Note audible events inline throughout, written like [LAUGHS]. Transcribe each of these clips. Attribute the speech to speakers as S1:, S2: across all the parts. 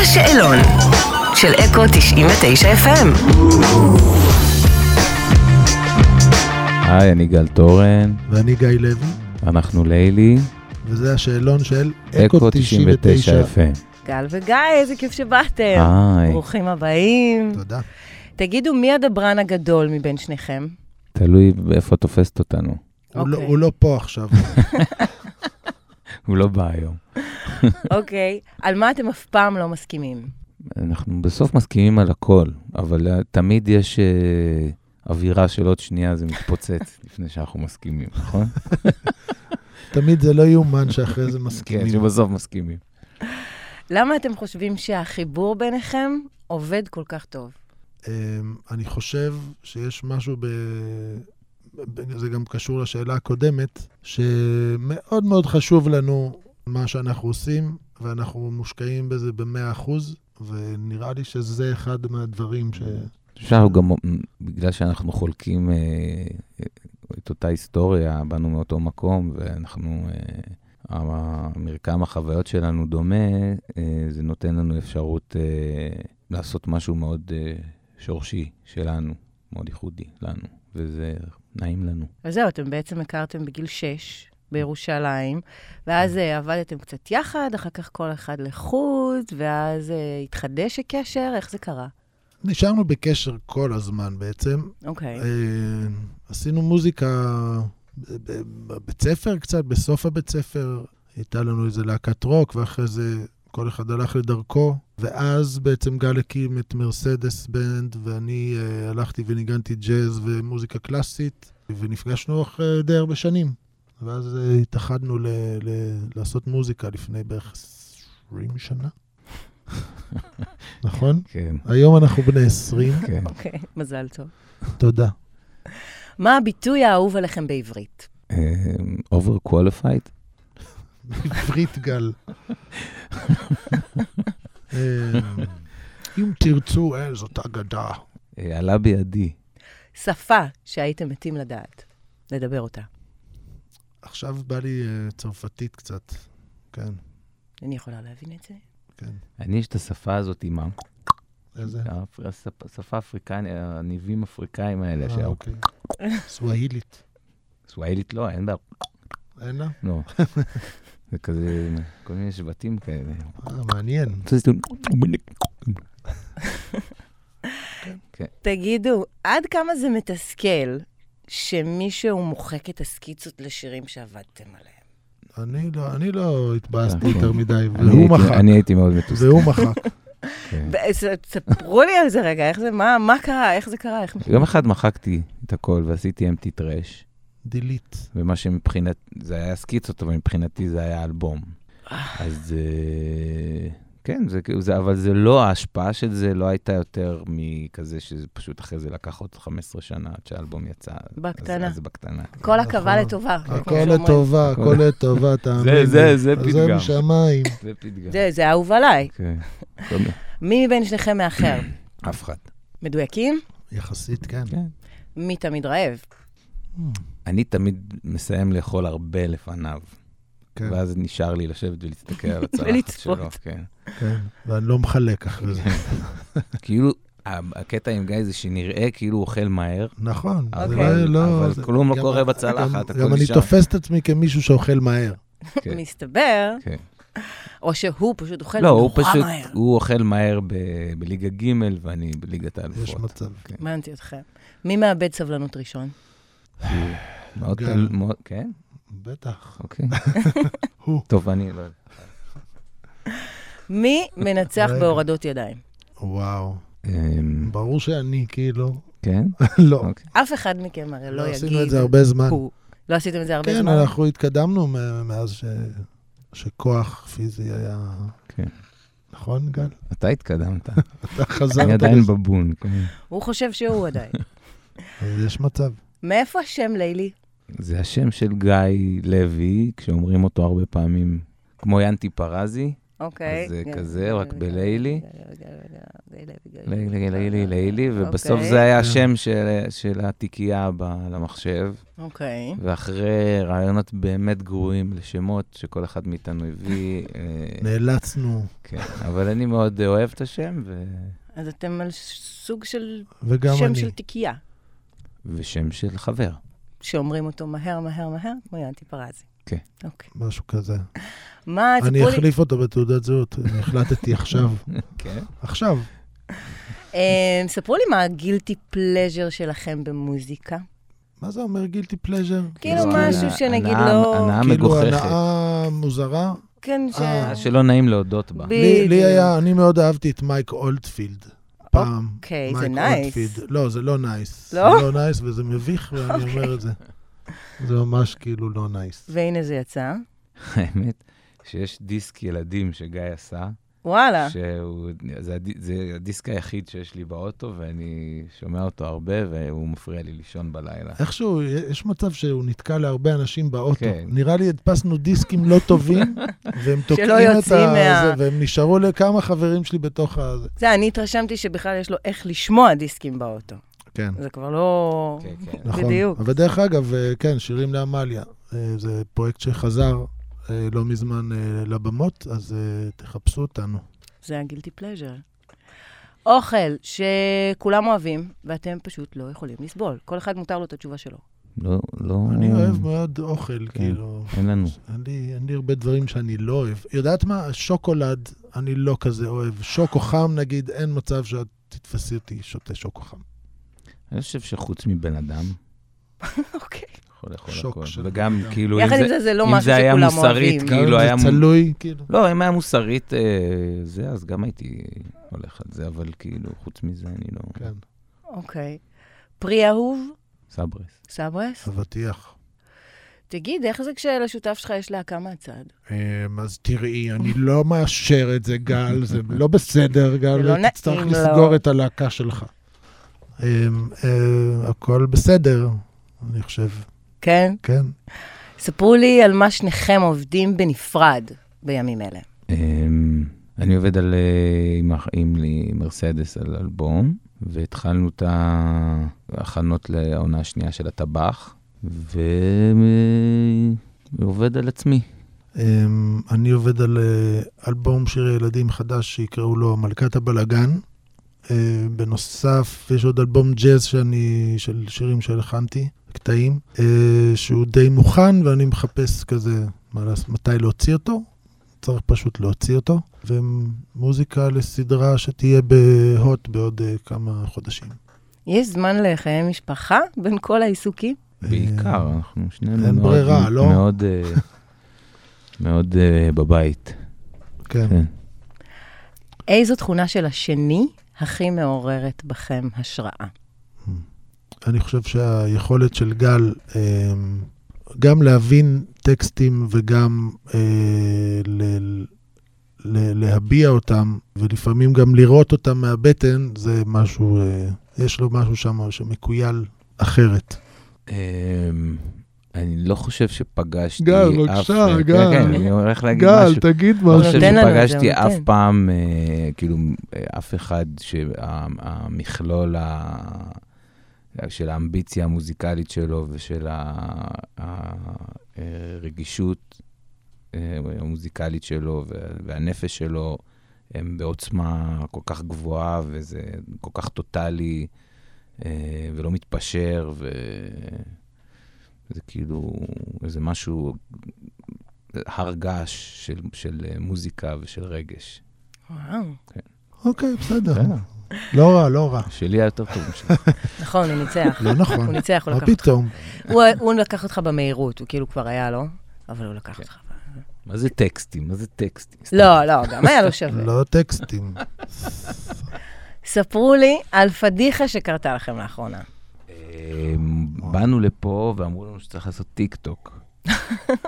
S1: השאלון של אקו 99 FM.
S2: היי, אני גל תורן,
S3: ואני גיא לוי,
S2: אנחנו לילי,
S3: וזה השאלון של
S2: אקו 99 FM.
S4: גל וגיא, איזה כיף שבאתם.
S2: היי,
S4: ברוכים הבאים.
S3: תודה.
S4: תגידו, מי הדברן הגדול מבין שניכם?
S2: תלוי איפה תופסת אותנו.
S3: הוא לא-
S4: אוקיי.
S3: הוא לא פה
S2: [LAUGHS]
S3: עכשיו.
S2: הוא לא בא היום.
S4: אוקיי, על מה אתם אף פעם לא מסכימים?
S2: אנחנו בסוף מסכימים על הכל, אבל אה, תמיד יש אה, אווירה של עוד שנייה זה מתפוצץ [LAUGHS] לפני שאנחנו מסכימים, נכון?
S3: תמיד זה לא יאומן שאחרי זה
S2: כן,
S3: מסכימים.
S2: שבסוף מסכימים.
S4: למה אתם חושבים שהחיבור ביניכם עובד כל כך טוב?
S3: אמ, אני חושב שיש משהו ב... ב- זה גם קשור לשאלה הקודמת, שמאוד מאוד חשוב לנו מה שאנחנו עושים, ואנחנו מושקעים בזה ב-100%, ונראה לי שזה אחד מהדברים ש...
S2: עכשיו גם, מ- בגלל שאנחנו חולקים אה, אה, את אותה היסטוריה, באנו מאותו מקום, ואנחנו, אה, המרקם החוויות שלנו דומה, אה, זה נותן לנו אפשרות אה, לעשות משהו מאוד אה, שורשי שלנו, מאוד ייחודי לנו, וזה נעים לנו.
S4: אז זהו, אתם בעצם הכרתם בגיל שש בירושלים, ואז אה, עבדתם קצת יחד, אחר כך כל אחד לחוד, ואז אה, התחדש הקשר, איך זה קרה?
S3: נשארנו בקשר כל הזמן בעצם,
S4: אוקיי.
S3: אה, עשינו מוזיקה ב- ב- בבית ספר קצת, בסוף הבית ספר. הייתה לנו איזה להקת רוק, ואחרי זה כל אחד הלך לדרכו. ואז בעצם גל הקים את מרסדס בנד, ואני אה, הלכתי וניגנתי ג'אז ומוזיקה קלאסית, ונפגשנו אחרי די הרבה שנים. ואז אה, התאחדנו ל- ל- לעשות מוזיקה לפני בערך 20 שנה. נכון?
S2: כן,
S3: היום אנחנו בני 20,
S2: כן.
S4: אוקיי, מזל טוב.
S3: תודה.
S4: מה הביטוי האהוב עליכם בעברית?
S2: אה, אובר-קואליפייד?
S3: עברית גל. אה, אם תרצו, אה, זאת אגדה.
S2: אה, עלה בידי.
S4: שפה שהייתם מתים לדעת, לדבר אותה.
S3: עכשיו בא לי אה, צרפתית קצת. כן,
S4: אני יכולה להבין את זה?
S3: כן.
S2: אני, יש את השפה הזאת עם ה...
S3: איזה?
S2: כן, השפה האפריקנית, הניבים האפריקאים האלה,
S3: אה,
S2: שה-
S3: אוקיי. סוואהילית.
S2: סוואילית לא, אין בה...
S3: אין לה?
S2: לא. זה כזה, כל מיני שבטים כאלה.
S3: אה, מעניין.
S4: תגידו, עד כמה זה מתסכל שמישהו מוחק את הסקיצות לשירים שעבדתם עליהם?
S3: אני לא, אני לא התבאסתי
S2: אה, כן.
S3: יותר מדי,
S2: אני
S3: והוא
S2: הייתי-
S3: מחק.
S2: אני הייתי מאוד מתוסכל.
S3: והוא מחק.
S2: כן.
S4: ב- אה, ס- ספרו לי על זה רגע, איך זה, מה, מה קרה, איך זה קרה, איך...
S2: יום אחד מחקתי את הכל ועשיתי אמפטי טראש,
S3: דילית.
S2: ומה שמבחינת, זה היה סקיצות, אבל מבחינתי זה היה אלבום. אז אה, כן, זה כאילו- זה- אבל זה לא, ההשפעה של זה לא הייתה יותר מכזה שזה פשוט אחרי זה לקח עוד 15 שנה עד שהאלבום יצא. אז-
S4: בקטנה.
S2: אז זה בקטנה.
S4: כל עכבה
S3: נכון.
S4: לטובה. כמו
S3: הכל
S4: שאומרים.
S3: לטובה,
S2: הכל-
S3: הכל לטובה, תאמין לי.
S2: זה- זה
S3: זה
S2: פתגם.
S3: משמיים.
S2: זה פתגם.
S4: זה, זה אהוב עליי.
S2: כן. כל מיני-
S4: מי מבין שניכם מאחר?
S2: אף אחד.
S4: מדויקים?
S3: יחסית, כן.
S2: כן.
S4: מי תמיד רעב?
S2: אני תמיד מסיים לאכול הרבה לפניו,
S3: כן,
S2: ואז נשאר לי לשבת ולהסתכל על הצלחת
S4: ולצפות.
S2: שלו. כן.
S3: כן. ואני לא מחלק אחרי זה.
S2: כאילו, ה- הקטע עם גיא זה שנראה כאילו הוא אוכל מהר,
S3: נכון. זה
S4: אוקיי.
S2: אבל
S3: לא- לא-
S2: אבל
S3: זה-
S2: כלום לא
S3: גם-
S2: קורה
S3: גם-
S2: בצלחת,
S3: גם
S2: הכל
S3: אני
S2: נשאר.
S3: תופס את עצמי כמישהו שאוכל מהר.
S2: כן,
S4: מסתבר,
S2: כן.
S4: או שהוא פשוט אוכל
S2: לא, הוא
S4: נורא
S2: פשוט,
S4: מהר.
S2: הוא אוכל מהר ב- בליגה ג' ואני בליגת
S3: יש
S2: האלופות.
S3: מצב.
S2: כן.
S4: הבנתי אתכם. מי מאבד סבלנות ראשון?
S2: כאילו, מאוד
S3: גל.
S2: תל- מאוד- כן,
S3: בטח.
S2: אוקיי.
S3: [LAUGHS] הוא.
S2: טוב, אני לא יודע.
S4: מי מנצח
S3: רגע.
S4: בהורדות ידיים?
S3: וואו.
S2: אמ,
S3: ברור שאני,
S2: [LAUGHS]
S3: כאילו,
S2: כן?
S3: לא.
S2: אוקיי.
S4: אף אחד מכם הרי לא
S3: לא
S4: יגיד...
S3: עשינו את זה הרבה זמן.
S4: הוא. לא עשיתם את זה הרבה
S3: כן,
S4: זמן?
S3: אנחנו התקדמנו מ- מאז ש- שכוח פיזי היה...
S2: כן.
S3: נכון,
S2: [LAUGHS]
S3: גל?
S2: אתה התקדמת,
S3: לא, אתה חזרת
S2: אני עדיין
S3: לזה.
S2: בבון, כן.
S4: הוא חושב שהוא
S3: [LAUGHS]
S4: עדיין.
S3: אז יש מצב.
S4: מאיפה השם לילי?
S2: זה השם של גיא לוי, כשאומרים אותו הרבה פעמים, כמו ינטי פרזי,
S4: אוקיי.
S2: אז זה
S4: גל-
S2: כזה,
S4: גל-
S2: רק
S4: גל-
S2: בלילי.
S4: גל- גל- גל- גל- גל-
S2: לילי, לילי, לילי, ובסוף
S4: אוקיי.
S2: זה היה השם של- של התיקייה ב- למחשב.
S4: אוקיי.
S2: ואחרי רעיונות באמת גרועים לשמות שכל אחד מאיתנו הביא, אה,
S3: נאלצנו,
S2: כן. אבל אני מאוד אוהב את השם, ו...
S4: אז אתם על סוג של
S3: וגם
S4: שם
S3: אני.
S4: של תיקייה,
S2: ושם של חבר.
S4: שאומרים אותו מהר, מהר, מהר, כמו ינתי פרזי.
S2: כן.
S4: אוקיי.
S3: משהו כזה.
S4: מה,
S3: אני
S4: סיפרו לי...
S3: אחליף אותו בתעודת זהות, אני החלטתי עכשיו.
S2: כן.
S3: עכשיו.
S4: אה, ספרו לי מה הגילטי פלז'ר שלכם במוזיקה.
S3: מה זה אומר גילטי פלז'ר?
S4: כאילו
S2: זו
S4: משהו
S2: הנאה-
S4: שנגיד
S2: הנאה-
S4: לא-
S2: הנאה
S3: כאילו
S2: מגוחכת,
S3: הנאה מוזרה.
S4: כן, ש...
S3: אה,
S2: שלא נעים להודות בה. [LAUGHS]
S4: ב-
S3: לי לי
S4: בדיוק.
S3: היה, אני מאוד אהבתי את מייק אולדפילד. פעם.
S4: אוקיי, זה
S3: מייק
S4: nice.
S3: אולדפילד. לא, זה לא נייס.
S4: לא? אוקיי.
S3: זה לא נייס וזה מביך, ואני אומר את זה. זה ממש כאילו לא נייס.
S4: והנה זה יצא.
S2: האמת, שיש דיסק ילדים שגיא עשה,
S4: וואלה.
S2: שהוא... זה הדי- זה הדיסק היחיד שיש לי באוטו, ואני שומע אותו הרבה, והוא מפריע לי לישון בלילה.
S3: איכשהו, יש מצב שהוא נתקע להרבה אנשים באוטו.
S2: כן.
S3: נראה לי הדפסנו דיסקים לא
S4: [LAUGHS]
S3: טובים, והם תוקעים
S4: שלא
S3: את ה...
S4: יוצאים מה-
S3: זה, והם נשארו לכמה חברים שלי בתוך ה... זה.
S4: זה, אני התרשמתי שבכלל יש לו איך לשמוע דיסקים באוטו.
S3: כן,
S4: זה כבר לא...
S2: כן, כן.
S3: נכון.
S4: בדיוק.
S3: אבל דרך אגב, אה, כן, שירים לעמליה. אה, זה פרויקט שחזר אה, לא מזמן אה, לבמות, אז אה, תחפשו אותנו.
S4: זה הגילטי פלז'ר. אוכל שכולם אוהבים, ואתם פשוט לא יכולים לסבול. כל אחד מותר לו את התשובה שלו.
S2: לא, לא...
S3: אני אוהב מאוד אוכל,
S2: כן.
S3: כאילו.
S2: אין לנו.
S3: אין לי- אין לי הרבה דברים שאני לא אוהב. יודעת מה? שוקולד, אני לא כזה אוהב. שוקו חם, נגיד, אין מצב שאת תתפסי אותי שותה שוקו חם.
S2: אני חושב שחוץ מבן אדם,
S4: [LAUGHS] אוקיי.
S2: יכול לאכול
S3: שוק
S2: הכל.
S3: של
S2: וגם
S3: בן אדם.
S2: כאילו, אם
S4: יחד עם
S2: זה...
S4: זה, זה לא
S2: אם
S4: משהו
S2: זה היה
S4: שכולם
S2: מוסרית,
S4: אוהבים.
S2: כאילו,
S3: גם אם
S2: היה מ-
S3: זה צלוי, כאילו.
S2: לא, אם היה מוסרית אה, זה, אז גם הייתי הולך על זה, אבל כאילו, חוץ מזה, אני לא...
S3: כן,
S4: אוקיי. פרי אהוב,
S2: סברס.
S4: סברס.
S3: אבטיח.
S4: תגיד, איך זה כשלשותף שלך יש להקה מהצד?
S3: אמ, אז תראי, אני לא מאשר את זה, גל, זה לא בסדר, גל,
S4: לא
S3: תצטרך
S4: נעים לו.
S3: לסגור את הלהקה שלך. אמ, אה, הכל בסדר, אני חושב,
S4: כן?
S3: כן.
S4: ספרו לי על מה שניכם עובדים בנפרד בימים אלה.
S2: אמ, אני עובד על, אה, עם אח- עם לי- מרסדס על אלבום, והתחלנו את ההכנות לעונה השנייה של הטבח, ועובד על עצמי.
S3: אמ, אני עובד על אה, אלבום שירי ילדים חדש שיקראו לו מלכת הבלגן. אה, בנוסף, יש עוד אלבום ג'אז שאני, של שירים שהלחנתי, קטעים, אה, שהוא די מוכן ואני מחפש כזה מה לעשות, מתי להוציא אותו. צריך פשוט להוציא אותו. ומוזיקה לסדרה שתהיה בהוט בעוד אה, כמה חודשים.
S4: יש זמן לחיי משפחה בין כל העיסוקים?
S2: בעיקר, אנחנו שנינו
S3: אה, אין
S2: מאוד-
S3: ברירה, לא?
S2: מאוד, אה, מאוד אה, בבית.
S3: אה, כן.
S2: כן.
S4: איזו תכונה של השני הכי מעוררת בכם השראה?
S3: אני חושב שהיכולת של גל אמ, גם להבין טקסטים וגם אה, ל- ל- להביע אותם, ולפעמים גם לראות אותם מהבטן, זה משהו, אה, יש לו משהו שם שמקוייל אחרת.
S2: אמ, אני לא חושב שפגשתי אף...
S3: גל, בבקשה,
S2: כן,
S3: גל.
S2: כן, אני הולך להגיד משהו.
S3: גל, תגיד
S2: אני לא
S4: משהו.
S2: חושב
S4: נותן לנו את זה, כן.
S2: שפגשתי
S4: הוא
S2: אף
S4: נותן.
S2: פעם, אה, כאילו, אה, אף אחד שהמכלול ה... של האמביציה המוזיקלית שלו ושל הרגישות אה, המוזיקלית שלו וה- והנפש שלו הם בעוצמה כל כך גבוהה וזה כל כך טוטאלי אה, ולא מתפשר וזה כאילו איזה משהו, הר געש של, של אה, מוזיקה ושל רגש.
S4: וואו.
S3: אוקיי, בסדר.
S2: בסדר.
S3: לא רע, לא רע.
S2: שלי היה יותר טוב משלך.
S4: נכון, הוא ניצח.
S3: לא נכון.
S4: הוא ניצח, הוא
S3: מה
S4: לקח
S3: פתאום?
S4: הוא, הוא לקח אותך במהירות, הוא כאילו כבר היה לו, אבל הוא לקח אותך.
S3: כן.
S4: ב-
S2: [LAUGHS] מה זה טקסטים? מה זה טקסטים?
S4: לא, לא, גם היה לו שווה.
S3: לא טקסטים.
S4: ספרו לי על פדיחה שקרתה לכם לאחרונה.
S2: אה, באנו לפה ואמרו לנו שצריך לעשות טיק טוק.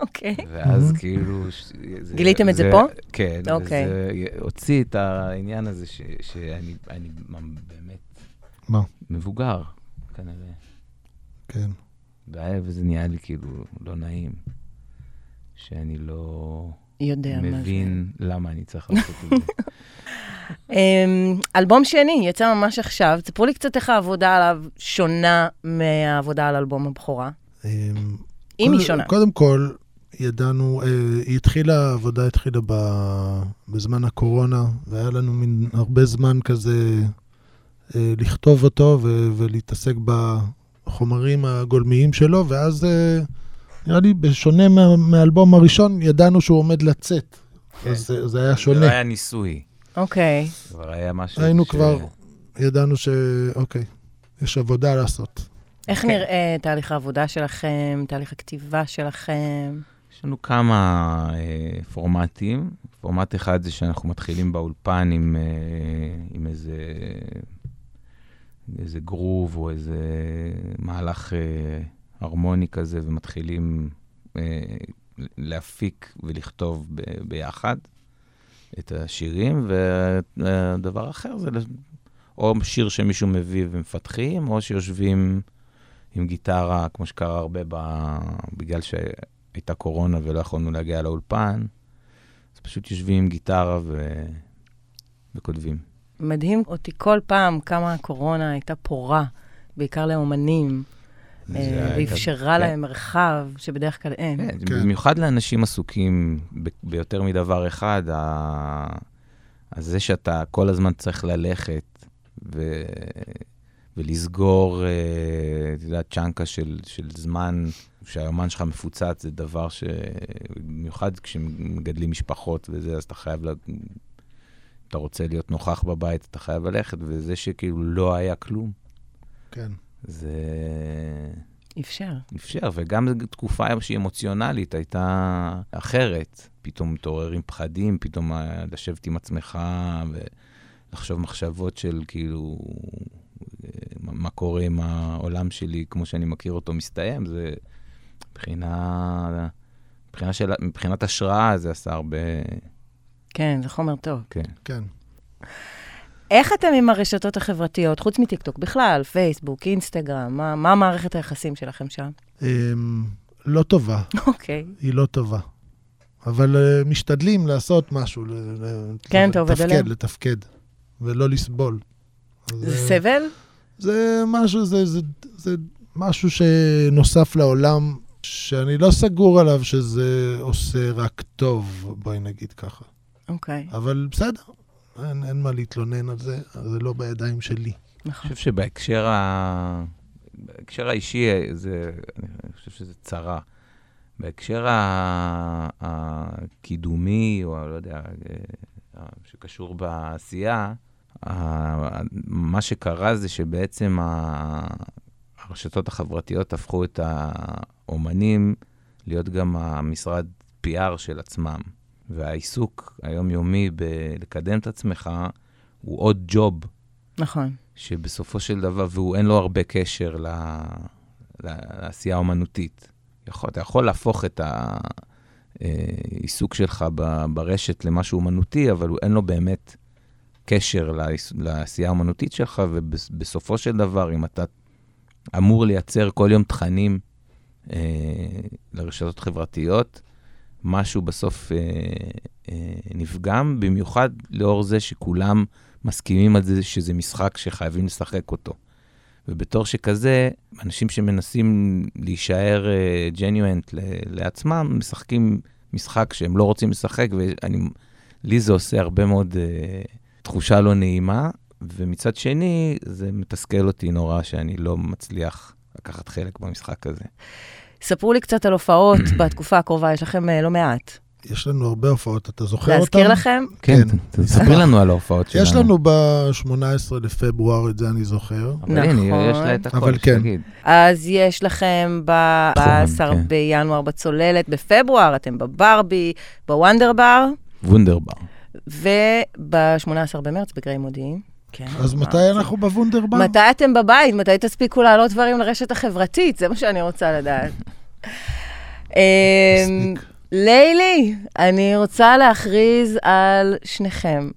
S4: אוקיי.
S2: ואז כאילו... ש- זה-
S4: גיליתם את זה פה?
S2: כן.
S4: אוקיי.
S2: וזה הוציא את העניין הזה ש- שאני אני ממ- באמת
S3: מה?
S2: מבוגר, כנראה.
S3: כן.
S2: והיה- וזה נהיה לי כאילו לא נעים, שאני לא...
S4: יודע מה זה.
S2: מבין למה אני צריך לעשות את זה.
S4: אמ, אלבום שני, יצא ממש עכשיו. תספרו לי קצת איך העבודה עליו שונה מהעבודה על אלבום הבכורה.
S3: אמ,
S4: אם
S3: קודם-
S4: היא שונה.
S3: קודם כל, ידענו, אה, היא התחילה, העבודה התחילה ב, בזמן הקורונה, והיה לנו מין הרבה זמן כזה אה, לכתוב אותו ו, ולהתעסק בחומרים הגולמיים שלו, ואז אה, נראה לי, בשונה מה, מהאלבום הראשון, ידענו שהוא עומד לצאת. אז אה, זה- זה היה
S2: כן. זה
S3: שונה.
S2: לא היה ניסוי,
S4: אוקיי.
S2: זה כבר היה משהו
S3: היינו
S2: ש-
S3: כבר, ידענו ש... אוקיי, יש עבודה לעשות.
S4: איך
S2: כן.
S4: נראה תהליך העבודה שלכם, תהליך הכתיבה שלכם?
S2: יש לנו כמה אה, פורמטים. פורמט אחד זה שאנחנו מתחילים באולפן עם, אה, עם איזה, איזה גרוב או איזה מהלך אה, הרמוני כזה, ומתחילים אה, להפיק ולכתוב ב, ביחד את השירים. והדבר אחר זה לס- או שיר שמישהו מביא ומפתחים, או שיושבים עם גיטרה, כמו שקרה הרבה, ב, בגלל ש... הייתה קורונה ולא יכולנו להגיע לאולפן, אז פשוט יושבים עם גיטרה ו... וכותבים.
S4: מדהים אותי כל פעם כמה הקורונה הייתה פורה, בעיקר לאומנים,
S2: זה
S4: אה,
S2: היה-
S4: ואפשרה
S2: כן.
S4: להם מרחב שבדרך כלל אין.
S2: כן,
S3: כן.
S2: במיוחד לאנשים עסוקים ב- ביותר מדבר אחד, ה... אז זה שאתה כל הזמן צריך ללכת ו... ולסגור, אה, אתה יודע, צ'אנקה של, של זמן, שהיומן שלך מפוצץ, זה דבר ש... במיוחד כשמגדלים משפחות וזה, אז אתה חייב, לה... אם אתה רוצה להיות נוכח בבית, אתה חייב ללכת, וזה שכאילו לא היה כלום,
S3: כן.
S2: זה...
S4: אפשר.
S2: אפשר, וגם זו תקופה שהיא אמוציונלית הייתה אחרת. פתאום מתעוררים פחדים, פתאום אה, לשבת עם עצמך ולחשוב מחשבות של כאילו, אה, מה מה קורה אם העולם שלי, כמו שאני מכיר אותו, מסתיים. זה מבחינה, מבחינה של, מבחינת השראה זה עשה הרבה,
S4: כן, זה חומר טוב.
S2: כן.
S3: כן.
S4: איך אתם עם הרשתות החברתיות, חוץ מטיקטוק בכלל, פייסבוק, אינסטגרם, מה, מה מערכת היחסים שלכם שם? [LAUGHS]
S3: אמ, לא טובה.
S4: אוקיי.
S3: היא לא טובה. אבל uh, משתדלים לעשות משהו, ל- ל-
S4: כן,
S3: ל-
S4: אתה עובד
S3: לתפקד,
S4: עליהם?
S3: לתפקד, ולא לסבול. אז,
S4: זה
S3: אה,
S4: סבל?
S3: זה משהו, זה, זה, זה משהו שנוסף לעולם, שאני לא סגור עליו שזה עושה רק טוב, בואי נגיד ככה.
S4: אוקיי,
S3: אבל בסדר, אין, אין מה להתלונן על זה, זה לא בידיים שלי.
S2: אני
S4: נכון.
S2: חושב שבהקשר ה... בהקשר האישי, אה, זה... אני חושב שזה צרה. בהקשר ה- הקידומי, או לא יודע, אה, אה, שקשור בעשייה, ה- מה שקרה זה שבעצם ה- הרשתות החברתיות הפכו את האומנים להיות גם המשרד PR של עצמם. והעיסוק היומיומי בלקדם את עצמך הוא עוד ג'וב
S4: נכון.
S2: שבסופו של דבר, והוא אין לו הרבה קשר ל... ל- לעשייה האומנותית. יכול, אתה יכול להפוך את אה, העיסוק שלך ב- ברשת למשהו אומנותי, אבל הוא אין לו באמת קשר לעיס- לעשייה האומנותית שלך, ובסופו של דבר, אם אתה אמור לייצר כל יום תכנים אה, לרשתות חברתיות, משהו בסוף אה, אה, נפגם, במיוחד לאור זה שכולם מסכימים על זה שזה משחק שחייבים לשחק אותו. ובתור שכזה, אנשים שמנסים להישאר ג'ניואנט לעצמם, משחקים משחק שהם לא רוצים לשחק, ולי זה עושה הרבה מאוד אה, תחושה לא נעימה, ומצד שני, זה מתסכל אותי נורא שאני לא מצליח לקחת חלק במשחק הזה.
S4: ספרו לי קצת על הופעות
S2: [COUGHS]
S4: בתקופה הקרובה, יש לכם אה, לא מעט.
S3: יש לנו הרבה הופעות, אתה זוכר אותן?
S4: להזכיר לכם?
S2: כן,
S3: כן. [LAUGHS]
S2: ת- תספרי לנו על ההופעות שלנו.
S3: יש לנו ב-18 לפברואר, את זה אני זוכר.
S2: אבל הנה,
S4: נכון.
S2: יש לה את הכל,
S3: אבל כן.
S2: שתגיד.
S4: אז יש לכם ב-14
S2: כן.
S4: בינואר בצוללת, בפברואר אתם בברבי, בוונדר בר,
S2: וונדרבר.
S4: וב-18 במרץ בגרי מודיעין. כן.
S3: אז מתי אנחנו בוונדרבאום?
S4: מתי אתם בבית? מתי תספיקו להעלות דברים לרשת החברתית? זה מה שאני רוצה
S2: [LAUGHS]
S4: לדעת. אמ,
S3: מספיק.
S4: לילי, אני רוצה להכריז על שניכם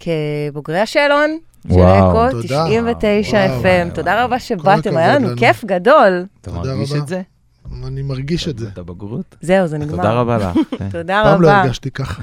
S4: כבוגרי השאלון של
S2: וואו.
S4: אקו
S3: תודה.
S4: 99
S3: וואו,
S4: FM.
S2: וואו,
S4: תודה
S2: וואו.
S4: רבה
S3: כל
S4: שבאתם,
S3: הכבוד
S4: היה לנו
S3: לנו.
S4: כיף גדול.
S2: אתה
S3: תודה
S2: מרגיש
S3: רבה.
S2: את זה?
S3: אני מרגיש את זה.
S2: את הבגרות?
S4: זהו, זה נגמר.
S2: תודה רבה לך. כן.
S4: תודה רבה.
S3: לא פעם לא הרגשתי ככה.